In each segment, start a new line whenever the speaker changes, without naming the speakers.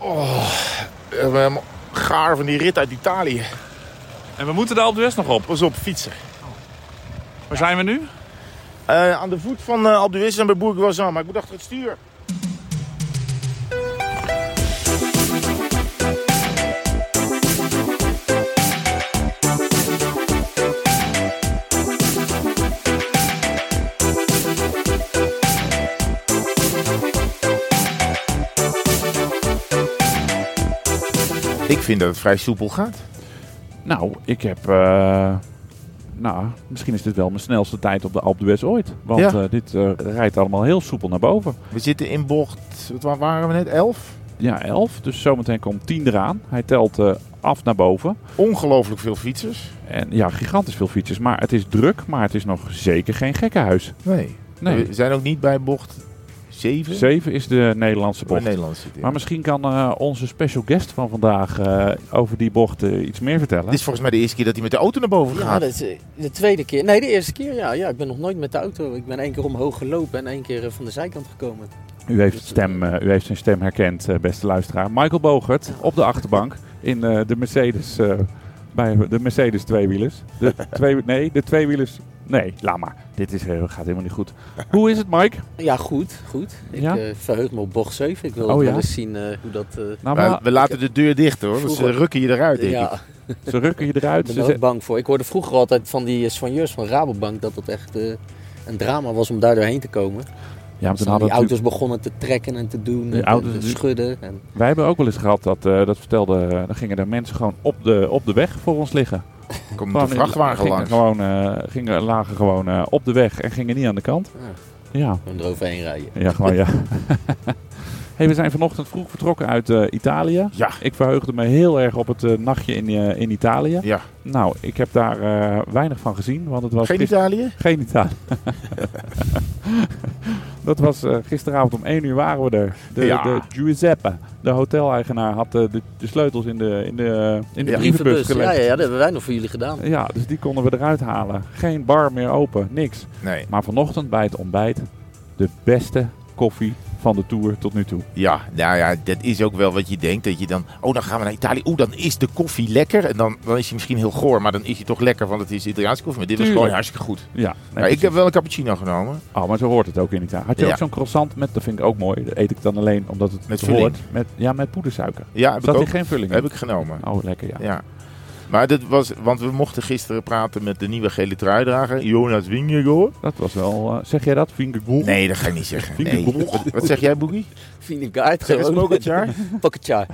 Oh, we hebben hem gaar van die rit uit Italië.
En we moeten daar op de West nog op.
Pas op, fietsen.
Waar zijn we nu?
Eh, aan de voet van eh Alpe d'Huez en bij Bourg-Guazan, maar ik moet achter het stuur. Ik vind dat het vrij soepel gaat.
Nou, ik heb... eh, nou, misschien is dit wel mijn snelste tijd op de Alpe d'Huez ooit. Want
Ja.
eh, dit eh, rijdt allemaal heel soepel naar boven.
We zitten in bocht, wat wa- waren we net, 11?
Ja, 11. Dus zometeen komt 10 eraan. Hij telt eh, af naar boven.
Ongelooflijk veel fietsers.
En ja, gigantisch veel fietsers. Maar het is druk, maar het is nog zeker geen gekkenhuis.
Nee.
Nee.
We zijn ook niet bij bocht 7.
7 is de Nederlandse
Waar
bocht.
Nederland zit in.
Maar misschien kan eh, onze special guest van vandaag eh, over die bocht eh, iets meer vertellen.
Dit is volgens mij de eerste keer dat hij met de auto naar boven
Ja,
gaat.
dat is eh, de tweede keer. Nee, de eerste keer, ja. ja. Ik ben nog nooit met de auto. Ik ben één keer omhoog gelopen en één keer eh, van de zijkant gekomen.
U heeft, stem, eh, u heeft zijn stem herkend, eh, beste luisteraar. Michael Bogert op de achterbank in eh, de Mercedes. eh, bij de Mercedes tweewielers. De twee, nee, de tweewielers. Nee, laat maar. Dit is, eh, gaat helemaal niet goed. Hoe is het, Mike?
Ja, goed, goed. Ik
Ja?
eh, verheug me op bocht 7. Ik wil
Oh,
ook
ja?
wel eens zien eh, hoe dat... eh,
Nou,
Maar
maar,
we laten de deur dicht hoor, want ze
Vroeger-
rukken je eruit denk
ja,
ik.
ze rukken je eruit. Ze
ik ben er
ze-
ook bang voor. Ik hoorde vroeger altijd van die eh, soigneurs van Rabobank dat het echt eh, een drama was om daar doorheen te komen.
ja, maar toen
Dus dan
hadden
die
we natuurlijk-
auto's begonnen te trekken en te doen
Die
en
auto's
te, te
die-
schudden. En,
Wij hebben ook wel eens gehad dat, eh, dat vertelde. Dan gingen er mensen gewoon op de, op de weg voor ons liggen.
Komt
Gewoon
de vrachtwagen
gingen
langs.
Gewoon, eh, gingen, lagen gewoon eh, op de weg en gingen niet aan de kant.
Ja.
Ja,
en eroverheen rijden.
ja gewoon ja. hey, we zijn vanochtend vroeg vertrokken uit eh, Italië.
Ja,
Ik verheugde me heel erg op het eh, nachtje in, eh, in Italië.
ja.
Nou, ik heb daar eh, weinig van gezien, want het was
Geen
gister-
Italië?
geen Italië. dat was eh, gisteravond om 1 uur waren we er. De,
Ja.
de Giuseppe, de hoteleigenaar, had eh, de, de sleutels in de, in de, in de
Ja.
brievenbus
Ja, ja,
gelegd.
ja, dat hebben wij nog voor jullie gedaan.
Ja, dus die konden we eruit halen. Geen bar meer open, niks.
Nee.
Maar vanochtend bij het ontbijt de beste koffie van de tour tot nu toe.
Ja, nou ja, dat is ook wel wat je denkt. Dat je dan, oh dan gaan we naar Italië. Oeh, dan is de koffie lekker. En dan, dan is hij misschien heel goor, maar dan is hij toch lekker, want het is Italiaanse koffie. Maar dit was
Tuurlijk.
gewoon hartstikke goed.
Ja, nee,
Maar ik heb wel een cappuccino genomen.
oh, maar zo hoort het ook in Italië. Had je
Ja.
ook zo'n croissant met, dat vind ik ook mooi. Dat eet ik dan alleen omdat het
Met vulling?
hoort. Met, ja, met poedersuiker.
Ja, heb ik
Zat
ook.
er geen vulling in?
Heb ik genomen.
Oh, lekker ja.
Ja. Maar dat was, want we mochten gisteren praten met de nieuwe gele truidrager, Jonas Wingegoor.
Dat was wel, eh, zeg jij dat? Vingergoel?
Nee, dat ga ik niet zeggen.
Vind ik
Nee.
een boel.
Wat zeg jij, Boogie?
Fine guide
Zeg eens
gewoon.
Pogacar.
Pogacar.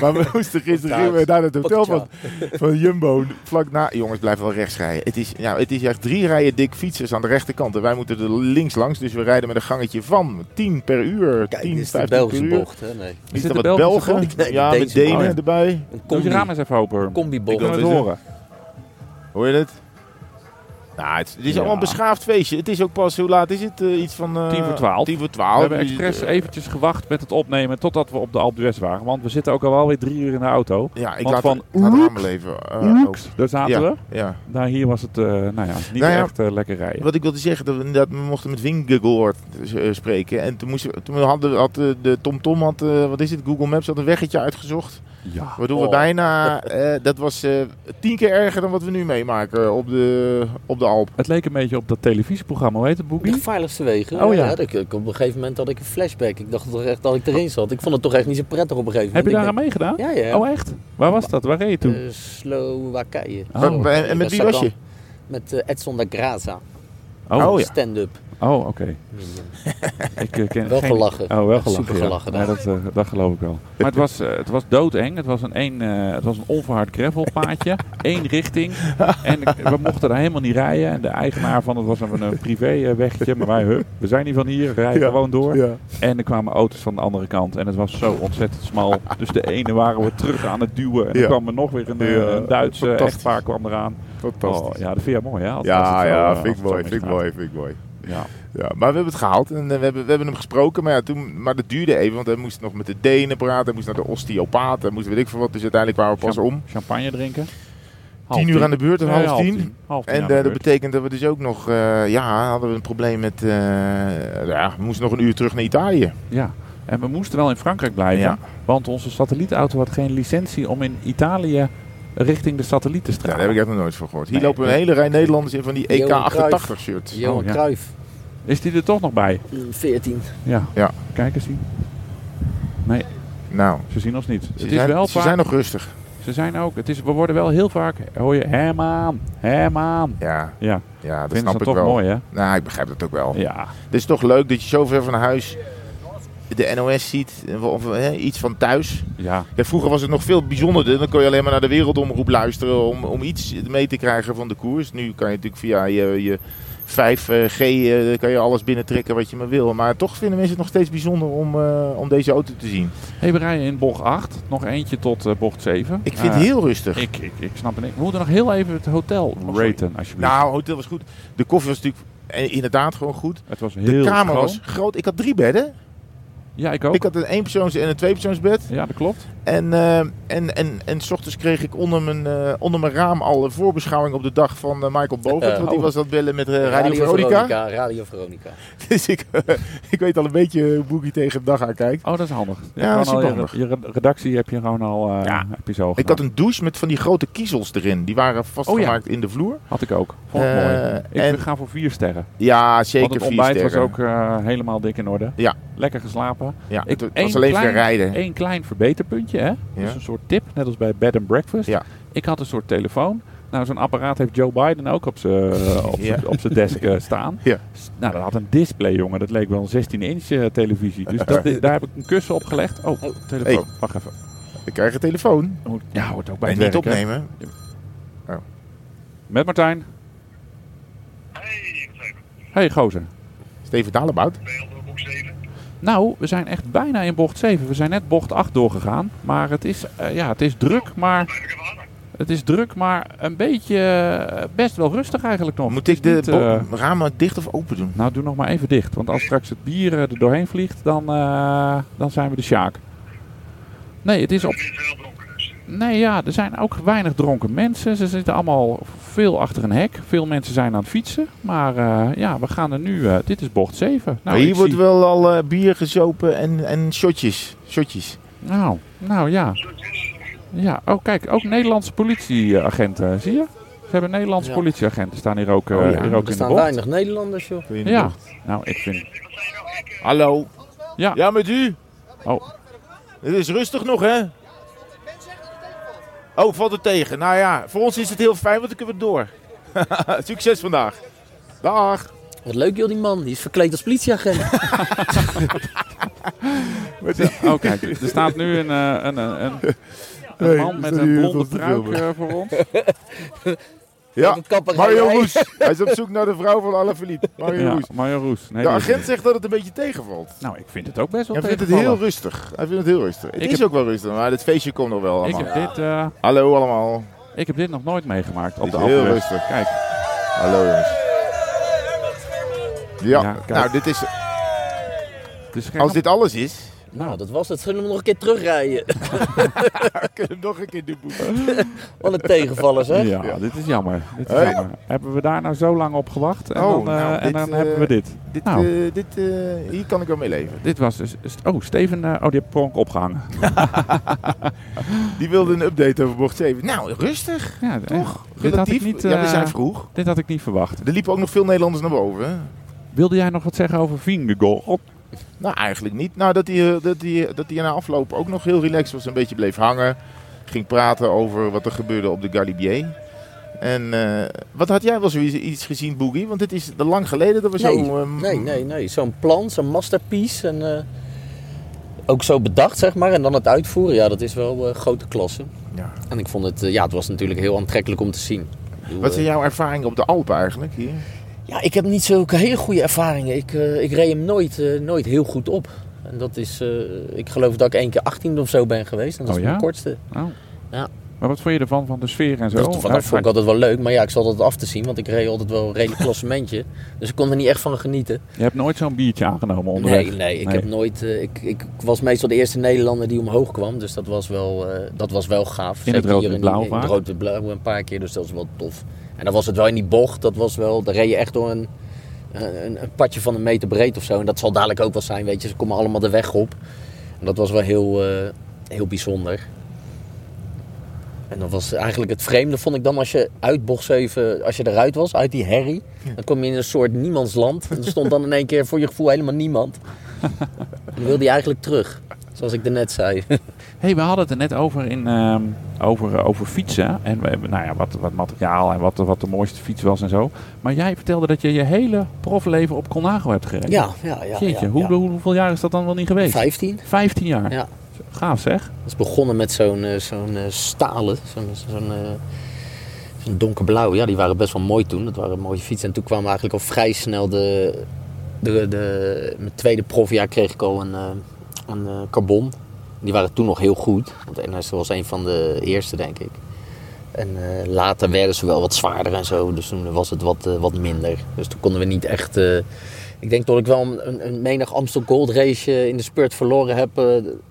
Maar we moesten gisteren
Taart.
gingen we naar het hotel van,
Pogacar.
van Jumbo. Vlak na. Jongens, blijf wel rechts rijden. Het is, nou, het is echt drie rijen dik fietsers aan de rechterkant. En wij moeten er links langs. Dus we rijden met een gangetje van 10 per uur.
Kijk,
10,
dit is de
15 per
Belgische
uur.
bocht. Hè?
Is
Nee.
Is dit
dat
de
wat
Belgische
Belgen?
bocht?
Nee,
Ja, met
deze
Denen
bocht.
erbij.
Een
Doe je
combi,
raam eens even open.
combibocht.
Kunnen we
Dat
het
is
horen?
Hoor je het? Nou, het, het is
Ja.
allemaal een beschaafd feestje. Het is ook pas, hoe laat is het? Eh, iets van... eh,
Tien voor twaalf.
10 voor Dus, eh,
We
12.
hebben expres eventjes gewacht met het opnemen totdat we op de Alpe d'Huez waren. Want we zitten ook alweer drie uur in de auto.
Ja, ik
Want
laat
e- van
van laat
Oeks-
het aanbeleven. eh, ook.
Daar zaten we.
Ja, ja.
Nou, hier was het eh, nou ja, niet
Nou ja.
echt eh, lekker rijden.
Wat ik wilde zeggen, dat we, inderdaad, we mochten met Wingegoord eh, spreken. En toen, moesten, toen hadden, had eh, de TomTom, had, eh, wat is het, Google Maps had een weggetje uitgezocht.
Ja.
Waardoor we
Oh.
bijna, eh, dat was eh, tien keer erger dan wat we nu meemaken op de, op de Alp.
Het leek een beetje op dat televisieprogramma, hoe heet het,
De
Boekie?
gevaarlijkste wegen.
Oh, ja.
dat- ik- op een gegeven moment had ik een flashback. Ik dacht toch echt dat ik erin zat. Ik vond het toch echt niet zo prettig op een gegeven
Heb
moment.
je daar aan
Ik
meegedaan?
dacht- Ja, ja.
Oh, echt? Waar was dat? Waar reed je toen?
Eh, Slowakije.
Oh.
Maar- maar- en, en met wie was je?
Met eh, Edson da Graza.
Oh,
oh, ja.
Stand-up.
Oh, oké. Ik eh, ken
Wel
geen-
gelachen.
Oh, wel gelachen.
Super
ja.
gelachen,
Nee, dat, eh, dat geloof ik wel. Maar het was, eh, het was doodeng. Het was een, één, eh, het was een onverhard gravelpaadje. Eén richting. En ik- we mochten daar helemaal niet rijden. En de eigenaar van het was een, een privéwegje. Maar wij, hup, we zijn niet van hier. Rij
Ja.
gewoon door.
Ja.
En er kwamen auto's van de andere kant. En het was zo ontzettend smal. Dus de ene waren we terug aan het duwen. En
Ja.
dan kwam er nog weer een, eh,
Ja,
een Duitse
fantastisch.
echtpaar kwam eraan.
Fantastisch.
Oh, ja, dat vind je mooi, hè? Als- als het
ja,
zo, eh,
ja,
als
vind
het
ik
zo
mooi, vind ik
misgaat.
mooi, vind ik mooi.
Ja.
Ja, maar we hebben het gehaald en eh, we hebben, we hebben hem gesproken. Maar, ja, toen, maar dat duurde even, want hij moest nog met de Denen praten. Hij moest naar de osteopaat, hij moest weet ik veel wat. Dus uiteindelijk waren we pas
Champ-
om.
Champagne drinken. Half
Tien uur aan de beurt, en
Nee,
half tien.
Half tien
En
aan
eh,
de
dat
beurt.
betekent dat we dus ook nog, eh, ja, hadden we een probleem met, eh, ja, we moesten nog een uur terug naar Italië.
Ja. En we moesten wel in Frankrijk blijven,
Ja.
want onze satellietauto had geen licentie om in Italië richting de satelliet te
Ja, daar
stralen.
heb ik echt nog nooit van gehoord. Hier
Nee.
lopen een hele rij Nederlanders in van die E
Johan Cruijff.
EK88-shirts.
Johan
Oh, ja. Eh,
Cruijff,
Is die er toch nog bij?
mm, 14.
Ja.
Ja.
Kijk eens zien.
Nou,
Ze zien ons niet.
ze,
het is
zijn,
wel
ze
vaak-
zijn nog rustig.
Ze zijn ook. Het is, we worden wel heel vaak. Hoor je hem aan, hem aan.
Ja,
Ja,
ja dat
vinden
snap
ze
ik
toch
wel.
mooi, hè?
Nou, ik begrijp dat ook wel.
Ja.
Het is toch leuk dat je zo ver van huis de NOS ziet, of, of, hè, iets van thuis.
ja.
Ja, vroeger was het nog veel bijzonderder. Dan kon je alleen maar naar de wereldomroep luisteren om, om iets mee te krijgen van de koers. Nu kan je natuurlijk via je, je 5G eh, kan je alles binnentrekken wat je maar wil. Maar toch vinden mensen het nog steeds bijzonder om, eh, om deze auto te zien.
Hey, we rijden in bocht 8. Nog eentje tot eh, bocht 7.
Ik vind
Eh,
het heel rustig.
Ik, ik, ik snap het niet. We moeten nog heel even het hotel
sorry.
raten, alsjeblieft.
Nou, hotel was goed. De koffie was natuurlijk eh, inderdaad gewoon goed.
het was
De
heel Oh.
kamer
schoon.
was groot. Ik had drie bedden.
Ja, ik ook.
Ik had een eenpersoons- en een tweepersoonsbed.
Ja, dat klopt.
En, eh, en, en, en s ochtends kreeg ik onder mijn, eh, onder mijn raam al een voorbeschouwing op de dag van eh, Michael Bogert.
Eh,
want die
oh.
was dat bellen met eh, Radio, Veronica.
Radio Veronica.
Dus ik, ik weet al een beetje hoe Boogie tegen de dag aankijkt.
Oh, dat is handig. Je hebt
Ja, dat
gewoon
is
al
handig.
je, re- je re- redactie heb je gewoon al eh,
Ja.
heb je zo
Ik had
gedaan.
een douche met van die grote kiezels erin. Die waren
Oh
vastgemaakt in de vloer.
Had ik ook. Vond ik
Eh,
mooi. Ik
en-
ga voor vier sterren.
Ja, zeker
Want het
vier
ontbijt
sterren.
was ook eh, helemaal dik in orde.
Ja.
Lekker geslapen.
ja,
ik-
het was
één
alleen
klein-
ver rijden.
Eén klein verbeterpuntje, hè? Dus
Ja.
een soort tip, net als bij bed and breakfast.
Ja.
Ik had een soort telefoon. Nou, zo'n apparaat heeft Joe Biden ook op zijn op
Ja.
z'n- op zijn desk eh, staan.
Ja.
S- Nou, dat had een display, jongen. Dat leek wel een 16-inch eh, televisie. Dus dat, daar heb ik een kussen op gelegd. Oh, telefoon.
Hey.
Wacht even.
Ik krijg een telefoon.
Moet- Ja, hoort ook bij
En
het
niet
werk, hè.
opnemen.
Met Martijn.
Hey, ik ben
Hey, gozer.
Steven Dalebout.
bij onder boek 7.
Nou, we zijn echt bijna in bocht 7. We zijn net bocht 8 doorgegaan. Maar het is, eh, ja, het is druk, maar...
Blijf ik even hangen.
Het is druk, maar een beetje eh, best wel rustig eigenlijk nog.
Moet
Het
ik
is
de
niet, eh,
bo- ramen dicht of open doen?
nou, doe nog maar even dicht. Want als straks het bier eh, er doorheen vliegt, dan, eh, dan zijn we de sjaak. Nee, het is op...
Ik ben veel dronken dus.
Nee, ja, er zijn ook weinig dronken mensen. Ze zitten allemaal veel achter een hek. Veel mensen zijn aan het fietsen. Maar eh, ja, we gaan er nu... eh, dit is bocht 7. Nou,
Maar hier
ik
wordt
zie-
wel al eh, bier gezopen en, en shotjes. shotjes.
Nou, nou ja.
Zoetjes.
ja. Oh, kijk, ook Nederlandse politieagenten. eh, Zie je? Ze hebben Nederlandse
Ja.
politieagenten. Staan hier ook, eh,
Oh ja,
hier ook
er
in de
staan
bocht.
weinig Nederlanders, joh.
Ja. Nou, ik vind...
Wat zijn nou hekken?
Hallo.
Ja.
Ja, met u.
Oh,
Het is rustig nog, hè? Oh, valt het tegen. Nou ja, voor ons is het heel fijn, want dan kunnen we door. Succes vandaag. Dag.
Wat leuk, joh, die man. Die is verkleed als politieagent.
Oh, kijk, er staat nu een, eh, een, een, een, een
Nee,
man
is
met
dat
een
hier
blonde
tot te
pruik
filmen?
eh, voor ons.
Ja,
Een kapper-
Mario Roes. Hij is op zoek naar de vrouw van Alaphilippe. Mario
Ja,
Roes.
Mario Roes. Nee,
De
die-
agent zegt dat het een beetje tegenvalt.
Nou, ik vind het ook best wel
Hij vindt het heel
tegenvallen.
rustig. Hij vindt het heel rustig. Het
Ik
is
heb-
ook wel rustig, maar dit feestje komt nog wel
Ik
allemaal.
heb, dit, eh,
Hallo allemaal.
ik heb dit nog nooit meegemaakt op
Is
de
heel
Alpenweg.
rustig.
Kijk,
Hallo jongens. Ja,
Ja, kijk.
nou dit is,
het is
als dit alles is,
nou, dat was het. Zullen we hem nog een keer terugrijden?
kunnen we hem nog een keer doen. Boep.
Nou.
Wat een tegenvallers, hè?
Ja, dit is jammer. Dit is
Hey.
jammer. Hebben we daar nou zo lang op gewacht en
Oh,
dan, eh,
nou,
en
dit,
dan
eh,
hebben we dit.
Dit,
Nou.
eh, dit, eh, hier kan ik wel mee leven.
Dit was dus... st- Oh, Steven... eh, oh, die heeft pronk opgehangen.
Die wilde een update over bocht 7. Nou, rustig.
Ja,
Toch?
eh, Dit had, ik
Relatief.
niet,
ja, we
eh,
zijn vroeg.
dit had ik niet verwacht.
Er liepen ook nog veel Nederlanders naar boven. hè?
Wilde jij nog wat zeggen over Vingegaard?
Nou, eigenlijk niet. Nou, dat hij, eh, dat, hij, dat hij na afloop ook nog heel relaxed was. Een beetje bleef hangen. Ging praten over wat er gebeurde op de Galibier. En eh, wat had jij wel zoiets iets gezien, Boogie? Want dit is de lang geleden dat we
Nee,
zo... ehm,
Nee, nee, nee. Zo'n plan, zo'n masterpiece. En, eh, ook zo bedacht, zeg maar. En dan het uitvoeren. Ja, dat is wel eh, grote klasse.
Ja.
En ik vond het... eh, ja, het was natuurlijk heel aantrekkelijk om te zien. Ik bedoel,
Wat
eh,
zijn jouw ervaringen op de Alpen eigenlijk hier?
Ja, ik heb niet zulke hele goede ervaringen. Ik, eh, ik reed hem nooit, eh, nooit heel goed op. En dat is, eh, ik geloof dat ik één keer 18 of zo ben geweest. En dat
Oh
is
ja?
mijn kortste.
Oh.
Ja.
Maar wat vond je ervan, van de sfeer en zo?
Dus van, dat
Eh,
vond ik altijd wel leuk. Maar ja, ik zat altijd af te zien, want ik reed altijd wel een redelijk klassementje. Dus ik kon er niet echt van genieten.
Je hebt nooit zo'n biertje aangenomen onderweg.
Nee, nee, ik
Nee.
heb nooit. eh, ik, ik was meestal de eerste Nederlander die omhoog kwam. Dus dat was wel, eh, dat was wel gaaf.
In het rood
hier
en
in-
blauw
In
vaak.
het rood en blauw een paar keer. Dus dat was wel tof. En dan was het wel in die bocht. Dat was wel. Daar reed je echt door een, eh, een, een padje van een meter breed of zo. En dat zal dadelijk ook wel zijn, weet je. Ze komen allemaal de weg op. En dat was wel heel, eh, heel bijzonder. En dat was eigenlijk het vreemde, vond ik dan, als je uit bocht 7, als je eruit was, uit die herrie. Dan kom je in een soort niemandsland. En er stond dan in één keer voor je gevoel helemaal niemand. En dan wilde je eigenlijk terug, zoals ik daarnet zei.
hey, we hadden het er net over, in, ehm, over, eh, over fietsen. En we hebben, nou ja, wat, wat materiaal en wat, wat de mooiste fiets was en zo. Maar jij vertelde dat je je hele profleven op Colnago hebt gereden.
Ja, ja, ja.
Jeetje,
ja,
hoe,
ja.
hoe- hoeveel jaar is dat dan wel niet geweest?
15?
15 jaar.
Ja.
Gaaf zeg.
Dat is begonnen met zo'n eh, zo'n eh, stalen, zo'n zo'n, eh, zo'n donkerblauw. Ja, die waren best wel mooi toen. Dat waren mooie fietsen. En toen kwamen eigenlijk al vrij snel de... de, de mijn tweede profjaar kreeg ik al een, eh, een eh, carbon. Die waren toen nog heel goed. Want NS was een van de eerste, denk ik. En eh, later werden ze wel wat zwaarder en zo. Dus toen was het wat, eh, wat minder. Dus toen konden we niet echt... eh, ik denk dat ik wel een, een- een menig Amstel Gold race eh, in de spurt verloren heb. eh,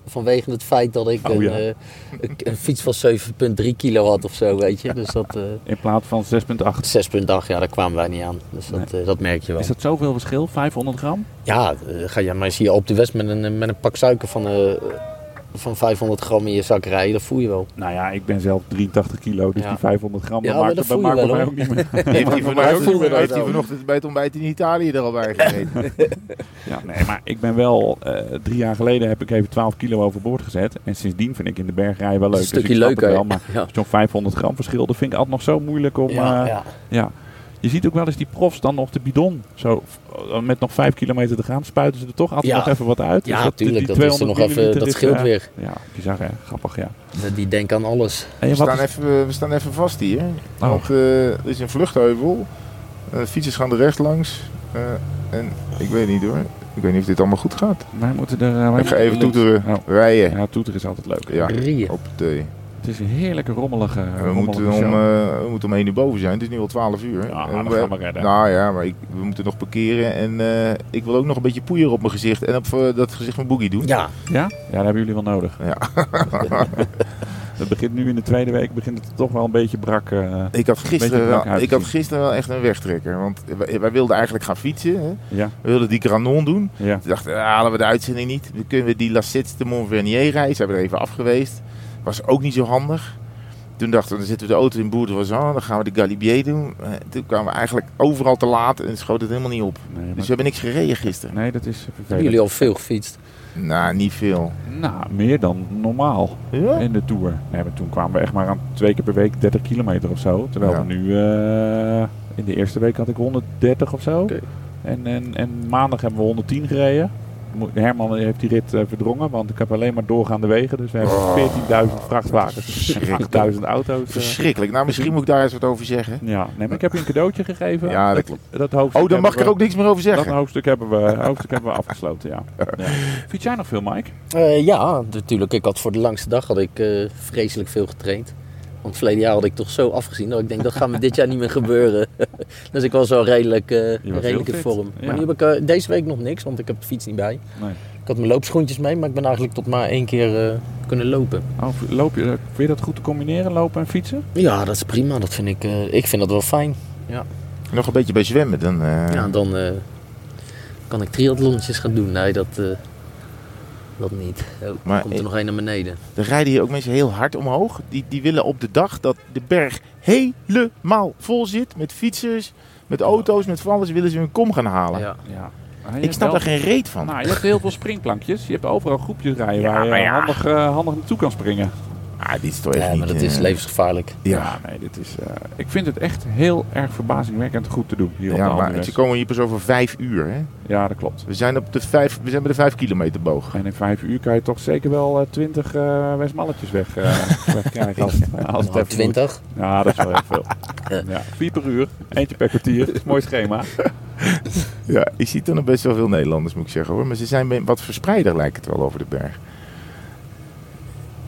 vanwege het feit dat ik
Oh,
een,
ja.
eh, een, een fiets van 7,3 kilo had of zo, weet je. Dus dat... eh
In plaats van 6,8.
6,8, ja, daar kwamen wij niet aan. Dus dat, eh, dat merk je wel.
Is dat zoveel verschil? 500 gram?
Ja, eh, ga je mij eens hier op de West met een, met een pak suiker van, eh, van 500 gram in je zak rijden, dat voel je wel.
Nou ja, ik ben zelf 83 kilo, dus
Ja.
die 500 gram,
Ja,
dat
maar
maakt
dat
het- dat
voel
maakt voor
je wel,
mij ook
hoor.
niet meer.
Heeft hij
maar dat
vanochtend,
voelen we
heeft hij
dan wel.
vanochtend bij het ontbijt in Italië er al bij gegeten?
Ja, nee, maar ik ben wel... eh, drie jaar geleden heb ik even 12 kilo overboord gezet. En sindsdien vind ik in de bergrij wel leuk.
Dat is een
dus ik
stukje
snap het
leuker.
wel, maar
Ja.
zo'n 500 gram verschil, dat vind ik altijd nog zo moeilijk om...
Ja,
eh,
ja.
ja. Je ziet ook wel eens die profs dan nog de bidon. Zo, eh, met nog 5 kilometer te gaan, spuiten ze er toch altijd
Ja.
nog even wat uit.
Ja,
die-
tuurlijk,
die
dat is er
200
nog even-
milliliter
dat
is,
scheelt
eh,
weer.
Ja, bizar hè. Grappig, ja.
Die denkt aan alles.
En
We
wat
staan,
is-
even, we staan even vast hier.
Oh.
Want eh, er is een vluchtheuvel. Eh, fietsers gaan er rechts langs. Eh, en ik weet niet hoor. Ik weet niet of dit allemaal goed gaat.
Wij moeten er... eh, wij
Ik ga
moeten-
even toeteren.
Oh.
Rijden.
Ja, toeter is altijd leuk.
Ja,
Rieën.
op de.
Het is een heerlijke rommelige.
We moeten, om, eh, we moeten om 1 uur boven zijn. Het is nu al 12 uur.
Ja,
En
dat gaan we redden.
Nou ja, maar ik, we moeten nog parkeren. En eh, ik wil ook nog een beetje poeier op mijn gezicht. En op eh, dat gezicht van Boogie doen.
Ja,
Ja? Ja, dat hebben jullie wel nodig.
Ja.
Het begint nu in de tweede week, begint het toch wel een beetje brak. eh,
Ik had, gisteren
brak
wel, ik had
uitgezien.
gisteren wel echt een wegtrekker. Want wij, wij wilden eigenlijk gaan fietsen. Hè.
ja,
We wilden die Granon doen.
ja.
Toen dachten we, ah, halen we de uitzending niet. Dan kunnen we die Lassets de Montvernier reis. Hebben we er even af geweest. Was ook niet zo handig. Toen dachten we, dan zitten we de auto in Boer de Wazan. Dan gaan we de Galibier doen. Eh, Toen kwamen we eigenlijk overal te laat en schoot het helemaal niet op.
Nee, maar-
Dus we hebben niks gereden gisteren.
nee, dat is vervelend.
hebben jullie al veel gefietst?
Nou, niet veel.
Nou, meer dan normaal
Ja?
in de Tour. Nee, maar toen kwamen we echt maar aan twee keer per week 30 kilometer of zo. Terwijl
Ja.
we nu... eh, in de eerste week had ik 130 of zo.
Oké.
En, en, en maandag hebben we 110 gereden. Mo- Herman heeft die rit eh, verdrongen, want ik heb alleen maar doorgaande wegen. Dus we
Oh.
hebben 14.000 vrachtwagens,
Verschrikkelijk.
8.000 auto's. eh.
Verschrikkelijk. Nou, misschien moet ik daar eens wat over zeggen.
Ja, nee, maar ik heb je een cadeautje gegeven.
Ja, dat
klopt. Dat hoofdstuk
Oh, dan mag ik er
hebben
ook niks meer over
we- Dat
zeggen.
hoofdstuk hebben we, hoofdstuk hebben we afgesloten, ja. ja. Vind jij nog veel, Mike?
Eh, ja, natuurlijk. Ik had voor de langste dag had ik, eh, vreselijk veel getraind. Want verleden jaar had ik toch zo afgezien dat ik denk, dat gaan we dit jaar niet meer gebeuren. dus ik was wel redelijk, eh
heel
redelijk in
fit.
vorm.
Ja.
Maar nu heb ik eh, deze week nog niks, want ik heb de fiets niet bij.
Nee.
Ik had mijn loopschoentjes mee, maar ik ben eigenlijk tot maar één keer eh, kunnen lopen.
Oh, loop je, eh, vind je dat goed te combineren, lopen en fietsen?
Ja, dat is prima. Dat vind ik, eh, ik vind dat wel fijn.
Nog een beetje bij zwemmen. Dan, eh,
Ja, dan eh, kan ik triathlonnetjes gaan doen. Nee, dat, eh, dat niet. Oh,
Maar
komt er
ik-
nog één naar beneden.
Er rijden hier ook mensen heel hard omhoog. Die, die willen op de dag dat de berg helemaal vol zit met fietsers, met auto's, met van alles, willen ze hun kom gaan halen.
Ja.
Ja.
Ik snap daar geen reet van.
Nou, je hebt heel veel springplankjes. Je hebt overal groepjes rijden
Ja,
waar je
maar ja.
handig, eh, handig naartoe kan springen.
ah, dit is toch echt
Ja, maar
niet,
dat is
eh,
levensgevaarlijk.
Ja,
nee, dit is... eh, ik vind het echt heel erg verbazingwekkend goed te doen hier op de
ja maar
Alpe
ze
d'Huez.
komen hier pas over vijf uur. Hè?
Ja, dat klopt.
We, zijn op de vijf, we zijn bij de vijf kilometer boog.
En in vijf uur kan je toch zeker wel eh, twintig Westmalletjes weg, eh, wegkrijgen. Als, als het
Nou,
even moet.
20.
Ja, dat is wel heel veel. Ja, vier per uur, eentje per kwartier. Mooi schema.
Ja, ik zie toch nog best wel veel Nederlanders, moet ik zeggen hoor. Maar ze zijn bij- wat verspreider, lijkt het wel, over de berg.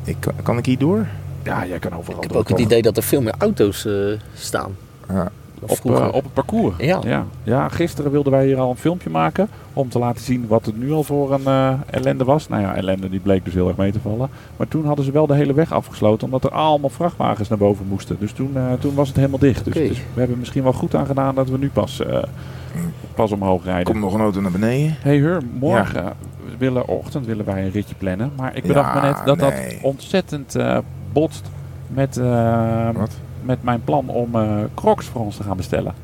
Ik, kan- kan ik hier door?
Ja, jij kan overal
Ik heb
door,
ook het
toch?
idee dat er veel meer auto's eh, staan.
Ja.
Dan
Op,
vroeger.
eh, op het parcours.
Ja.
Oh.
Ja. Ja, gisteren wilden wij hier al een filmpje maken om te laten zien wat het nu al voor een eh, ellende was. Nou ja, ellende die bleek dus heel erg mee te vallen. Maar toen hadden ze wel de hele weg afgesloten omdat er allemaal vrachtwagens naar boven moesten. Dus toen, eh, toen was het helemaal dicht. Dus
Oké.
het is- we hebben misschien wel goed aan gedaan dat we nu pas eh, pas omhoog rijden.
Komt nog een auto naar beneden.
Hey Hur, morgen willen, ochtend willen wij een ritje plannen. Maar ik
Ja,
bedacht me net dat
nee.
dat ontzettend eh, botst met, eh,
Wat?
met mijn plan om eh, crocs voor ons te gaan bestellen.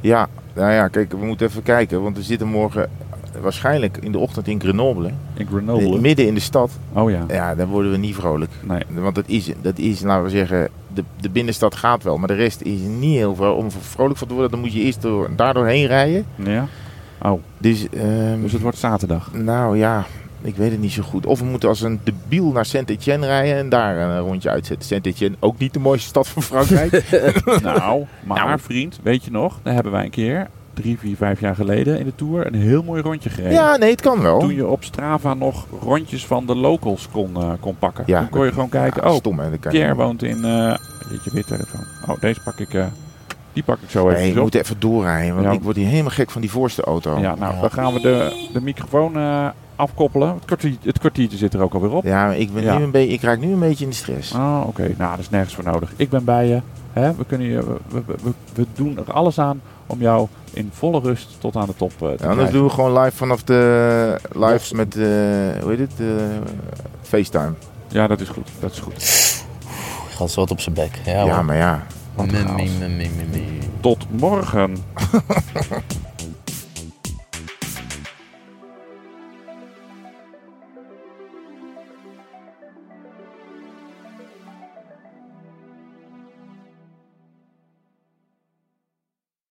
Ja, nou ja, kijk, we moeten even kijken. Want we zitten morgen waarschijnlijk in de ochtend in Grenoble.
In Grenoble.
Midden in de stad.
oh ja,
Ja, daar worden we niet vrolijk.
nee.
Want dat is, dat is laten we zeggen, de, de binnenstad gaat wel. Maar de rest is niet heel veel. Om vrolijk van te worden, dan moet je eerst door, daar doorheen rijden.
Ja?
Dus, ehm,
Dus het wordt zaterdag.
nou ja, ik weet het niet zo goed. Of we moeten als een debiel naar Saint-Etienne rijden en daar een rondje uitzetten. Saint-Etienne, ook niet de mooiste stad van Frankrijk.
nou, maar
Nou.
vriend, weet je nog? Daar hebben wij een keer, drie, vier, vijf jaar geleden in de Tour, een heel mooi rondje gereden.
ja, nee, het kan wel.
Toen je op Strava nog rondjes van de locals kon, eh, kon pakken.
Ja,
Toen kon je gewoon kijken,
Ja,
oh,
stom hè. dat kan je
Pierre
niet.
woont in. eh jeetje, weer telefoon. Oh, deze pak ik. eh, die pak ik zo even.
Nee, we
op.
moeten even doorrijden, want
Ja.
ik word hier helemaal gek van die voorste auto.
Ja, nou, dan gaan we de, de microfoon eh, afkoppelen. Het, kwartier, het kwartiertje zit er ook alweer op.
Ja, maar ik, ben
Ja.
Nu een beetje, ik raak nu een beetje in de stress.
Oh, oké. Nou, dat is nergens voor nodig. Ik ben bij je. Hè? We, kunnen je we, we, we- we doen er alles aan om jou in volle rust tot aan de top eh, te
Ja, anders
krijgen.
doen we gewoon live vanaf de live met eh, hoe heet het? eh, FaceTime.
Ja, dat is goed. Dat is goed.
Gaat zo wat op zijn bek. Ja,
Ja,
hoor.
maar ja.
Wat een
Mim,
chaos.
mim, mim, mim, mim.
Tot morgen.